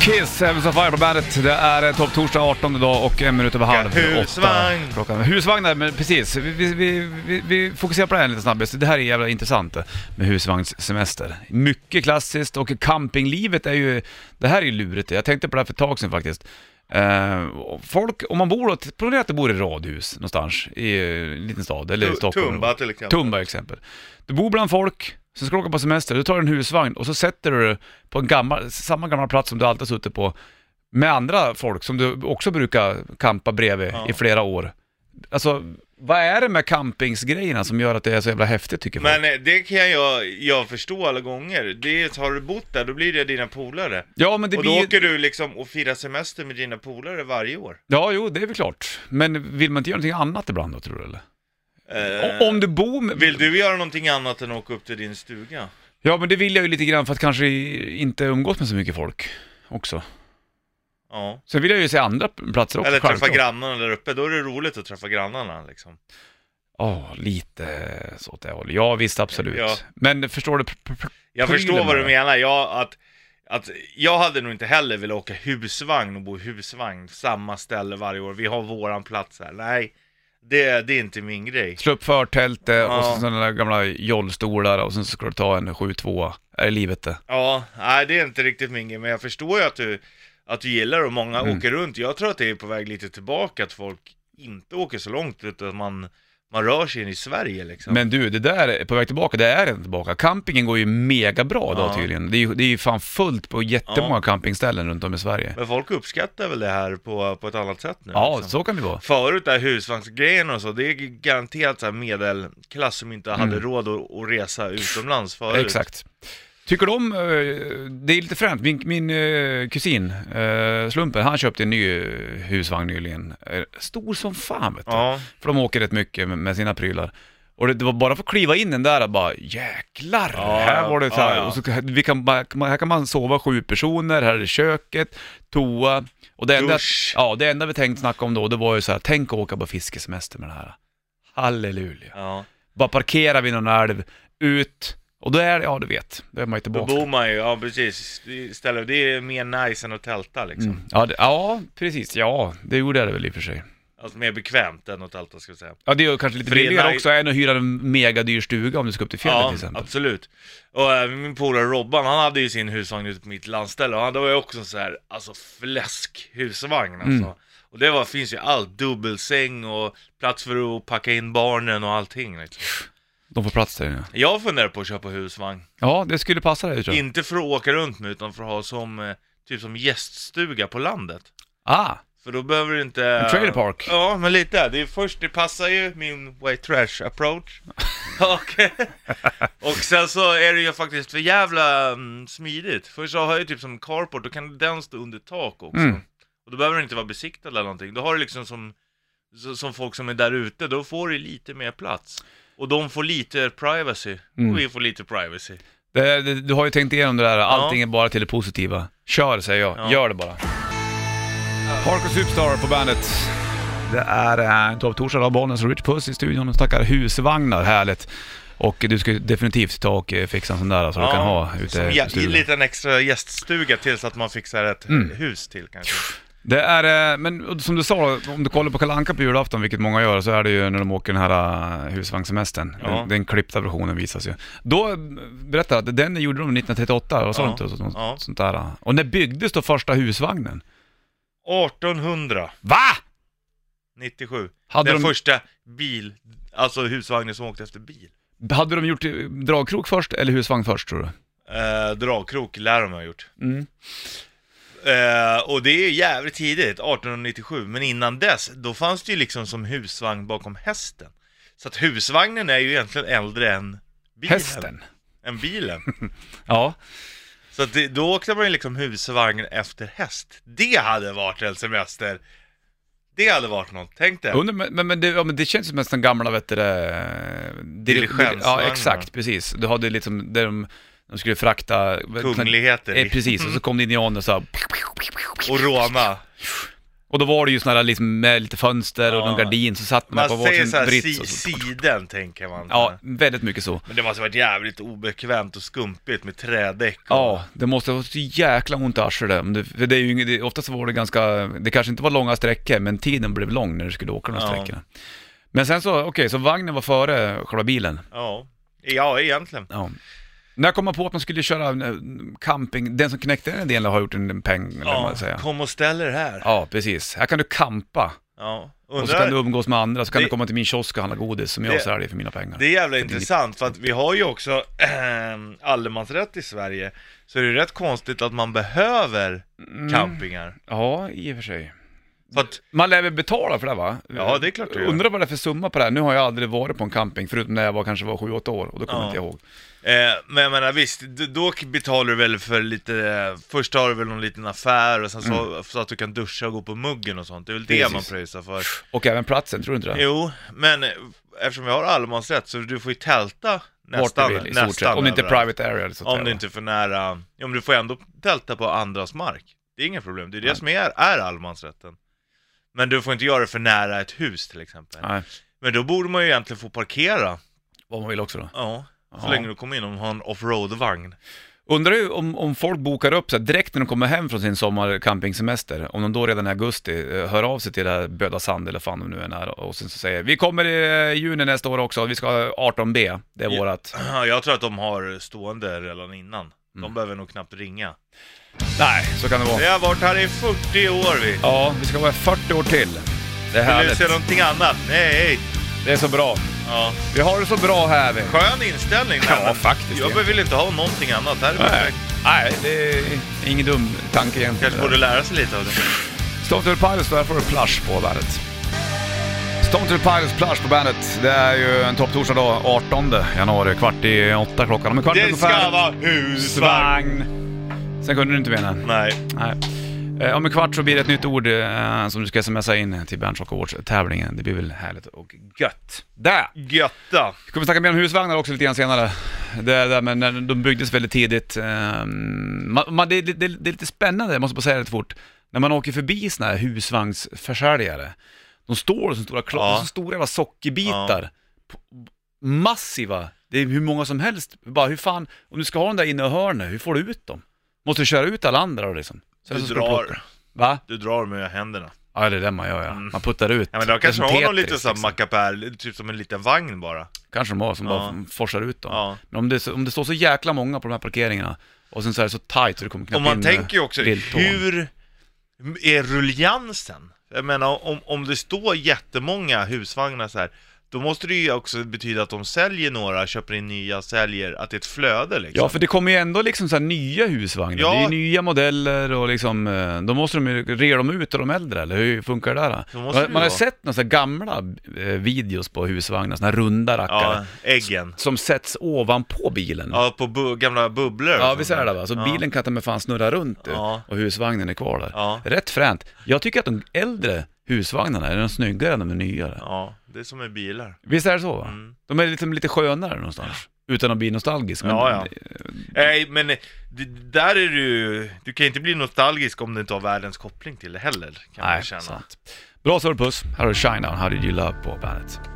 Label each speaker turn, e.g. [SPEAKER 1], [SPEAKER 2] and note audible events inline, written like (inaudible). [SPEAKER 1] Kiss, Heavens of Fire på bandet. Det är eh, topptorsdag 18 idag och en minut över halv
[SPEAKER 2] Ja, husvagn.
[SPEAKER 1] åtta Klockan. Husvagn där, men precis. Vi, vi, vi, vi, vi fokuserar på det här lite snabbt. Det här är jävla intressant eh, med husvagnssemester. Mycket klassiskt och campinglivet är ju... Det här är ju lurigt. Jag tänkte på det här för ett tag sedan faktiskt. Eh, folk, om man bor, då- ponera att du bor i radhus någonstans i eh, en liten stad eller i
[SPEAKER 2] Tu-
[SPEAKER 1] Stockholm.
[SPEAKER 2] Tumba till exempel.
[SPEAKER 1] Tumba exempel. Du bor bland folk, sen ska du åka på semester, du tar en husvagn och så sätter du dig på en gammal, samma gamla plats som du alltid har suttit på med andra folk som du också brukar campa bredvid
[SPEAKER 2] Ja.
[SPEAKER 1] i flera år. Alltså, vad är det med campingsgrejerna som gör att det är så jävla häftigt tycker folk?
[SPEAKER 2] Men eh, det kan jag, jag förstå alla gånger. Det, är- har du bott där, då blir det dina polare.
[SPEAKER 1] Ja, men det
[SPEAKER 2] och
[SPEAKER 1] blir
[SPEAKER 2] då
[SPEAKER 1] ju...
[SPEAKER 2] åker du liksom och firar semester med dina polare varje år.
[SPEAKER 1] Ja, jo, det är väl klart. Men vill man inte göra någonting annat ibland då, tror du eller?
[SPEAKER 2] Eh,
[SPEAKER 1] O- Om du bor med...
[SPEAKER 2] Vill du göra någonting annat än att åka upp till din stuga?
[SPEAKER 1] Ja, men det vill jag ju lite grann för att kanske i- inte umgås med så mycket folk också.
[SPEAKER 2] Ja.
[SPEAKER 1] Sen vill jag ju se andra platser också.
[SPEAKER 2] Eller träffa
[SPEAKER 1] självklart.
[SPEAKER 2] grannarna där uppe, då är det roligt att träffa grannarna liksom.
[SPEAKER 1] Ja, lite så åt det hållet. Ja, visst absolut.
[SPEAKER 2] Ja.
[SPEAKER 1] Men förstår du? p- p- p-
[SPEAKER 2] Jag
[SPEAKER 1] prylen
[SPEAKER 2] förstår vad du
[SPEAKER 1] med det?
[SPEAKER 2] menar, jag, att, att jag hade nog inte heller velat åka husvagn och bo i husvagn, samma ställe varje år, vi har våran plats här. Nej, det, det är inte min grej.
[SPEAKER 1] Slå upp förtälte och
[SPEAKER 2] Ja.
[SPEAKER 1] så sådana där gamla jollstolar och sen så ska du ta en 7-2. Är livet det?
[SPEAKER 2] Ja, nej det är inte riktigt min grej, men jag förstår ju att du, att du gillar det och många
[SPEAKER 1] Mm.
[SPEAKER 2] åker runt. Jag tror att det är på väg lite tillbaka, att folk inte åker så långt, utan att man, man rör sig in i Sverige liksom.
[SPEAKER 1] Men du, det där är på väg tillbaka, det är inte tillbaka. Campingen går ju mega bra idag
[SPEAKER 2] Ja.
[SPEAKER 1] tydligen. Det är, ju, det är ju fan fullt på jättemånga campingställen runt om i Sverige.
[SPEAKER 2] Men folk uppskattar väl det här på, på ett annat sätt nu?
[SPEAKER 1] Ja,
[SPEAKER 2] liksom.
[SPEAKER 1] så kan det vara.
[SPEAKER 2] Förut där husvagnsgrejen och så, det är garanterat så här medelklass som inte hade råd att, att resa utomlands förut.
[SPEAKER 1] Mm. Exakt. Tycker de, eh, det är lite fränt, min, min eh, kusin, eh, Slumpen, han köpte en ny eh, husvagn nyligen. Eh, Stor som fan vet du.
[SPEAKER 2] Ja.
[SPEAKER 1] För de åker rätt mycket med- med sina prylar. Och det, det var bara för att kliva in den där och bara jäklar,
[SPEAKER 2] Ja,
[SPEAKER 1] här
[SPEAKER 2] ja.
[SPEAKER 1] var det så här,
[SPEAKER 2] Ja, ja.
[SPEAKER 1] Och så, här- vi kan, bara- här kan man sova sju personer, här är köket, toa. Och det enda,
[SPEAKER 2] Dusch.
[SPEAKER 1] ja, det enda vi tänkte snacka om då, det var ju så här, tänk att åka på fiskesemester med den här. Halleluja.
[SPEAKER 2] Ja.
[SPEAKER 1] Bara parkera vid någon älv, ut, och då är det, ja du vet, då är man ju
[SPEAKER 2] Då
[SPEAKER 1] tillbaka.
[SPEAKER 2] bor man ju, ja precis, istället, det är mer nice än att tälta liksom.
[SPEAKER 1] Mm. Ja, det, ja, precis, ja, det gjorde jag det väl i och för sig.
[SPEAKER 2] Alltså mer bekvämt än att tälta ska jag säga.
[SPEAKER 1] Ja, det är ju kanske lite
[SPEAKER 2] För det är
[SPEAKER 1] billigare
[SPEAKER 2] nice.
[SPEAKER 1] också än att hyra en megadyr stuga om du ska upp till fjällen till exempel.
[SPEAKER 2] absolut. Och äh, min polare Robban, han hade ju sin husvagn ute på mitt landställe och han, det var ju också en så här, alltså fläsk husvagn
[SPEAKER 1] Mm.
[SPEAKER 2] alltså. Och det var, finns ju allt, dubbelsäng och plats för att packa in barnen och allting liksom.
[SPEAKER 1] De får plats där inne.
[SPEAKER 2] Jag funderar på att köpa husvagn.
[SPEAKER 1] Ja, det skulle passa dig tror jag.
[SPEAKER 2] Inte för att åka runt med utan för att ha som, eh, typ som gäststuga på landet.
[SPEAKER 1] Ah,
[SPEAKER 2] För då behöver du inte...
[SPEAKER 1] En trailer park.
[SPEAKER 2] Ja, men lite. Det är först, det passar ju min white
[SPEAKER 1] (laughs)
[SPEAKER 2] trash approach. och, och sen så är det ju faktiskt för jävla mm, smidigt. Först så har jag ju typ som carport, då kan den stå under tak också.
[SPEAKER 1] Mm.
[SPEAKER 2] Och då behöver den inte vara besiktad eller någonting. Då har du liksom som, så- som folk som är där ute, då får du lite mer plats. Och de får lite privacy.
[SPEAKER 1] Mm.
[SPEAKER 2] Och vi får lite privacy.
[SPEAKER 1] det, det, du har ju tänkt igenom det där, allting är bara till det positiva. Kör säger jag,
[SPEAKER 2] Ja.
[SPEAKER 1] gör det bara. Parker Superstar på bandet. Det är eh, topptorsdag av Bollnäs och Rich Puss i studion och snackar husvagnar, härligt. Och eh, du ska ju definitivt ta och eh, fixa en sån där så du kan ha ute
[SPEAKER 2] som
[SPEAKER 1] i
[SPEAKER 2] ja,
[SPEAKER 1] stugan.
[SPEAKER 2] lite en extra gäststuga tills att man fixar ett
[SPEAKER 1] Mm.
[SPEAKER 2] hus till kanske.
[SPEAKER 1] Det är, eh, men och som du sa, om du kollar på Kalle Anka på julafton, vilket många gör, så är det ju när de åker den här eh, husvagnssemestern.
[SPEAKER 2] Ja.
[SPEAKER 1] Den, den klippta versionen visas ju. Då eh, berättar jag att den gjorde de 1938, vad sa
[SPEAKER 2] Ja.
[SPEAKER 1] du inte? Så, något
[SPEAKER 2] Ja.
[SPEAKER 1] Sånt där. eh. Och när byggdes då första husvagnen?
[SPEAKER 2] 1800.
[SPEAKER 1] Va?
[SPEAKER 2] 97.
[SPEAKER 1] Hade
[SPEAKER 2] den
[SPEAKER 1] de,
[SPEAKER 2] första bil, alltså husvagnen som åkte efter bil.
[SPEAKER 1] hade de gjort eh, dragkrok först eller husvagn först tror du?
[SPEAKER 2] Eh, dragkrok lär de ha gjort.
[SPEAKER 1] Mm.
[SPEAKER 2] Eh, och det är jävligt tidigt, 1897. Men innan dess, då fanns det ju liksom som husvagn bakom hästen. Så att husvagnen är ju egentligen äldre än bilen.
[SPEAKER 1] Hästen?
[SPEAKER 2] Än bilen.
[SPEAKER 1] Ja.
[SPEAKER 2] Så att det, då åkte man ju liksom husvagn efter häst. Det hade varit en semester. Det hade varit något, tänk dig.
[SPEAKER 1] Undrar, men, men, men, det, ja, men det känns som mest den gamla, vet du det,
[SPEAKER 2] Diligensvagnar.
[SPEAKER 1] Ja, exakt, precis. Du hade liksom, där de, de skulle frakta...
[SPEAKER 2] Kungligheter.
[SPEAKER 1] Eh, precis, och så kom det indianer och så här,
[SPEAKER 2] Och råna.
[SPEAKER 1] Och då var det ju sådana där liksom med lite fönster och
[SPEAKER 2] Ja.
[SPEAKER 1] någon gardin, så satt man,
[SPEAKER 2] Man
[SPEAKER 1] på
[SPEAKER 2] säger
[SPEAKER 1] varsin
[SPEAKER 2] såhär,
[SPEAKER 1] brits.
[SPEAKER 2] si,
[SPEAKER 1] Och så,
[SPEAKER 2] siden tänker man.
[SPEAKER 1] ja, väldigt mycket så.
[SPEAKER 2] Men det måste ha varit jävligt obekvämt och skumpigt med trädäck. och-
[SPEAKER 1] Ja, det måste ha varit så jäkla ont i arslet där. Men det. För det är ju inget, det, oftast var det ganska, det kanske inte var långa sträckor, men tiden blev lång när du skulle åka de här
[SPEAKER 2] Ja.
[SPEAKER 1] sträckorna. Men sen så, okej, så vagnen var före själva bilen.
[SPEAKER 2] Ja, ja egentligen.
[SPEAKER 1] Ja. När kom man på att man skulle köra eh, camping, den som knäckte den idén har gjort en peng, eller vad
[SPEAKER 2] Ja,
[SPEAKER 1] man säger.
[SPEAKER 2] kom och ställ er här. Ja.
[SPEAKER 1] Ja, precis. Här kan du kampa och så
[SPEAKER 2] Undrar,
[SPEAKER 1] kan du umgås med andra, så kan
[SPEAKER 2] Det-
[SPEAKER 1] du komma till min kiosk och handla godis som jag
[SPEAKER 2] Det-
[SPEAKER 1] säljer för mina pengar.
[SPEAKER 2] Det är jävla intressant för att vi har ju också ehm, allemansrätt i Sverige. Så det är ju rätt konstigt att man behöver
[SPEAKER 1] Mm.
[SPEAKER 2] campingar.
[SPEAKER 1] Ja, i och för sig.
[SPEAKER 2] För att,
[SPEAKER 1] Man lär väl betala för det va?
[SPEAKER 2] Ja, det är klart du gör.
[SPEAKER 1] Undrar vad det är för summa på det här. Nu har jag aldrig varit på en camping, förutom när jag var, kanske var 7-8 år och då kommer
[SPEAKER 2] Ja.
[SPEAKER 1] inte jag ihåg.
[SPEAKER 2] eh, men jag menar visst, d- då betalar du väl för lite, eh, först har du väl någon liten affär och sen så, så att du kan duscha och gå på muggen och sånt. Det är väl det
[SPEAKER 1] Mm. Precis.
[SPEAKER 2] man pröjsar för.
[SPEAKER 1] Och även platsen, tror du inte det?
[SPEAKER 2] Jo, men eh, eftersom vi har allemansrätt så du får ju tälta nästan,
[SPEAKER 1] Vart du vill, i stort sett.
[SPEAKER 2] nästan
[SPEAKER 1] Om det inte är
[SPEAKER 2] överallt.
[SPEAKER 1] private area eller så. att säga,
[SPEAKER 2] Om det
[SPEAKER 1] va?
[SPEAKER 2] inte är för nära, om du får ändå tälta på andras mark. Det är inga problem, det är det som är, är allemansrätten. Men du får inte göra det för nära ett hus till exempel.
[SPEAKER 1] Nej,
[SPEAKER 2] Men då borde man ju egentligen få parkera,
[SPEAKER 1] vad man vill också då.
[SPEAKER 2] ja, så
[SPEAKER 1] Ja.
[SPEAKER 2] länge du kommer in och har en offroad-vagn.
[SPEAKER 1] Undrar ju om, om folk bokar upp så här, direkt när de kommer hem från sin sommarcampingsemester, om de då redan i augusti eh, hör av sig till det här Böda Sand eller fan de nu är nära och sen så säger vi kommer i eh, juni nästa år också, vi ska ha 18B, det är
[SPEAKER 2] Ja.
[SPEAKER 1] vårat.
[SPEAKER 2] Jag tror att de har stående redan innan. De
[SPEAKER 1] Mm.
[SPEAKER 2] behöver nog knappt ringa.
[SPEAKER 1] Nej, så kan det vara.
[SPEAKER 2] Vi har varit här i 40 år vi.
[SPEAKER 1] Ja, vi ska vara 40 år till. Det är
[SPEAKER 2] Vill du
[SPEAKER 1] härligt.
[SPEAKER 2] se någonting annat? Nej!
[SPEAKER 1] Det är så bra.
[SPEAKER 2] Ja.
[SPEAKER 1] Vi har det så bra här vi.
[SPEAKER 2] Skön inställning.
[SPEAKER 1] Ja,
[SPEAKER 2] nej, men
[SPEAKER 1] faktiskt, ja.
[SPEAKER 2] Jag vill inte ha någonting annat. Det här är
[SPEAKER 1] Nej,
[SPEAKER 2] perfekt.
[SPEAKER 1] Nej det är ingen dum tanke egentligen.
[SPEAKER 2] Kanske borde lära sig lite av det.
[SPEAKER 1] Stone Temple Pilots, där får du Plush på bandet. Stone Temple Pilots, Plush på bandet. Det är ju en topptorsdag dag, 18 januari, kvart i åtta klockan. Om en kvart
[SPEAKER 2] Det
[SPEAKER 1] ungefär.
[SPEAKER 2] ska vara husvagn!
[SPEAKER 1] Svagn. Sen kunde du inte mena.
[SPEAKER 2] Nej.
[SPEAKER 1] Nej. Eh, Om en kvart så blir det ett nytt ord eh, som du ska smsa in till Bernt Rock Awards-tävlingen. Det blir väl härligt och gött. Där!
[SPEAKER 2] Götta.
[SPEAKER 1] Vi kommer snacka mer om husvagnar också lite grann senare. Det där, men när de byggdes väldigt tidigt. ehm, man, man, det, det, det är lite spännande, jag måste bara säga det fort. När man åker förbi såna här husvagnsförsäljare, de står som stora, kla-
[SPEAKER 2] Ja.
[SPEAKER 1] som stora jävla sockerbitar. P- Massiva, det är hur många som helst. Bara hur fan, om du ska ha den där inne i hörnet, hur får du ut dem? Måste du köra ut alla andra då liksom? Så
[SPEAKER 2] Du
[SPEAKER 1] så ska plocka.
[SPEAKER 2] drar,
[SPEAKER 1] Va?
[SPEAKER 2] du drar med händerna.
[SPEAKER 1] Ja det är det man gör ja. Man puttar ut.
[SPEAKER 2] Mm. Ja, men de
[SPEAKER 1] Det
[SPEAKER 2] kanske
[SPEAKER 1] är som
[SPEAKER 2] har någon
[SPEAKER 1] Tetris,
[SPEAKER 2] liten sån
[SPEAKER 1] liksom.
[SPEAKER 2] mackapär, typ som en liten vagn bara.
[SPEAKER 1] Kanske de har som
[SPEAKER 2] Ja.
[SPEAKER 1] bara forsar ut dem.
[SPEAKER 2] Ja.
[SPEAKER 1] Men om det, så- om det står så jäkla många på de här parkeringarna och sen så är det så tight så det kommer knappt
[SPEAKER 2] Och man
[SPEAKER 1] in,
[SPEAKER 2] tänker ju
[SPEAKER 1] eh,
[SPEAKER 2] också,
[SPEAKER 1] lilltån.
[SPEAKER 2] hur är rulliansen? Jag menar, om, om det står jättemånga husvagnar så här, då måste det ju också betyda att de säljer några, köper in nya, säljer, att det är ett flöde liksom.
[SPEAKER 1] Ja, för det kommer ju ändå liksom så här nya husvagnar.
[SPEAKER 2] Ja.
[SPEAKER 1] Det är ju nya modeller och liksom, eh, då måste de ju rea dem ut och de äldre eller hur funkar det där? då?
[SPEAKER 2] Så
[SPEAKER 1] Man,
[SPEAKER 2] måste det ju
[SPEAKER 1] man har
[SPEAKER 2] vara.
[SPEAKER 1] sett några så här gamla eh, videos på husvagnar, såna här runda rackare.
[SPEAKER 2] ja äggen.
[SPEAKER 1] Som sätts ovanpå bilen.
[SPEAKER 2] Ja, på bu gamla bubblor. och
[SPEAKER 1] Ja,
[SPEAKER 2] sånt
[SPEAKER 1] visst är det
[SPEAKER 2] där.
[SPEAKER 1] va? Så
[SPEAKER 2] Ja.
[SPEAKER 1] bilen kan ta med fan snurra runt du,
[SPEAKER 2] Ja.
[SPEAKER 1] och husvagnen är kvar där.
[SPEAKER 2] Ja.
[SPEAKER 1] Rätt fränt. Jag tycker att de äldre husvagnarna är de snyggare än de nyare.
[SPEAKER 2] Ja, det är som med bilar.
[SPEAKER 1] Visst är det så va?
[SPEAKER 2] Mm.
[SPEAKER 1] De är liksom lite skönare någonstans. Utan att bli nostalgisk. Men
[SPEAKER 2] Ja, ja. Nej, men det, där är du Du kan inte bli nostalgisk om du inte har världens koppling till det heller, kan man
[SPEAKER 1] Nej,
[SPEAKER 2] känna.
[SPEAKER 1] sant. Bra surr puss. Här har du Shine Down, How Did You Love på bandet.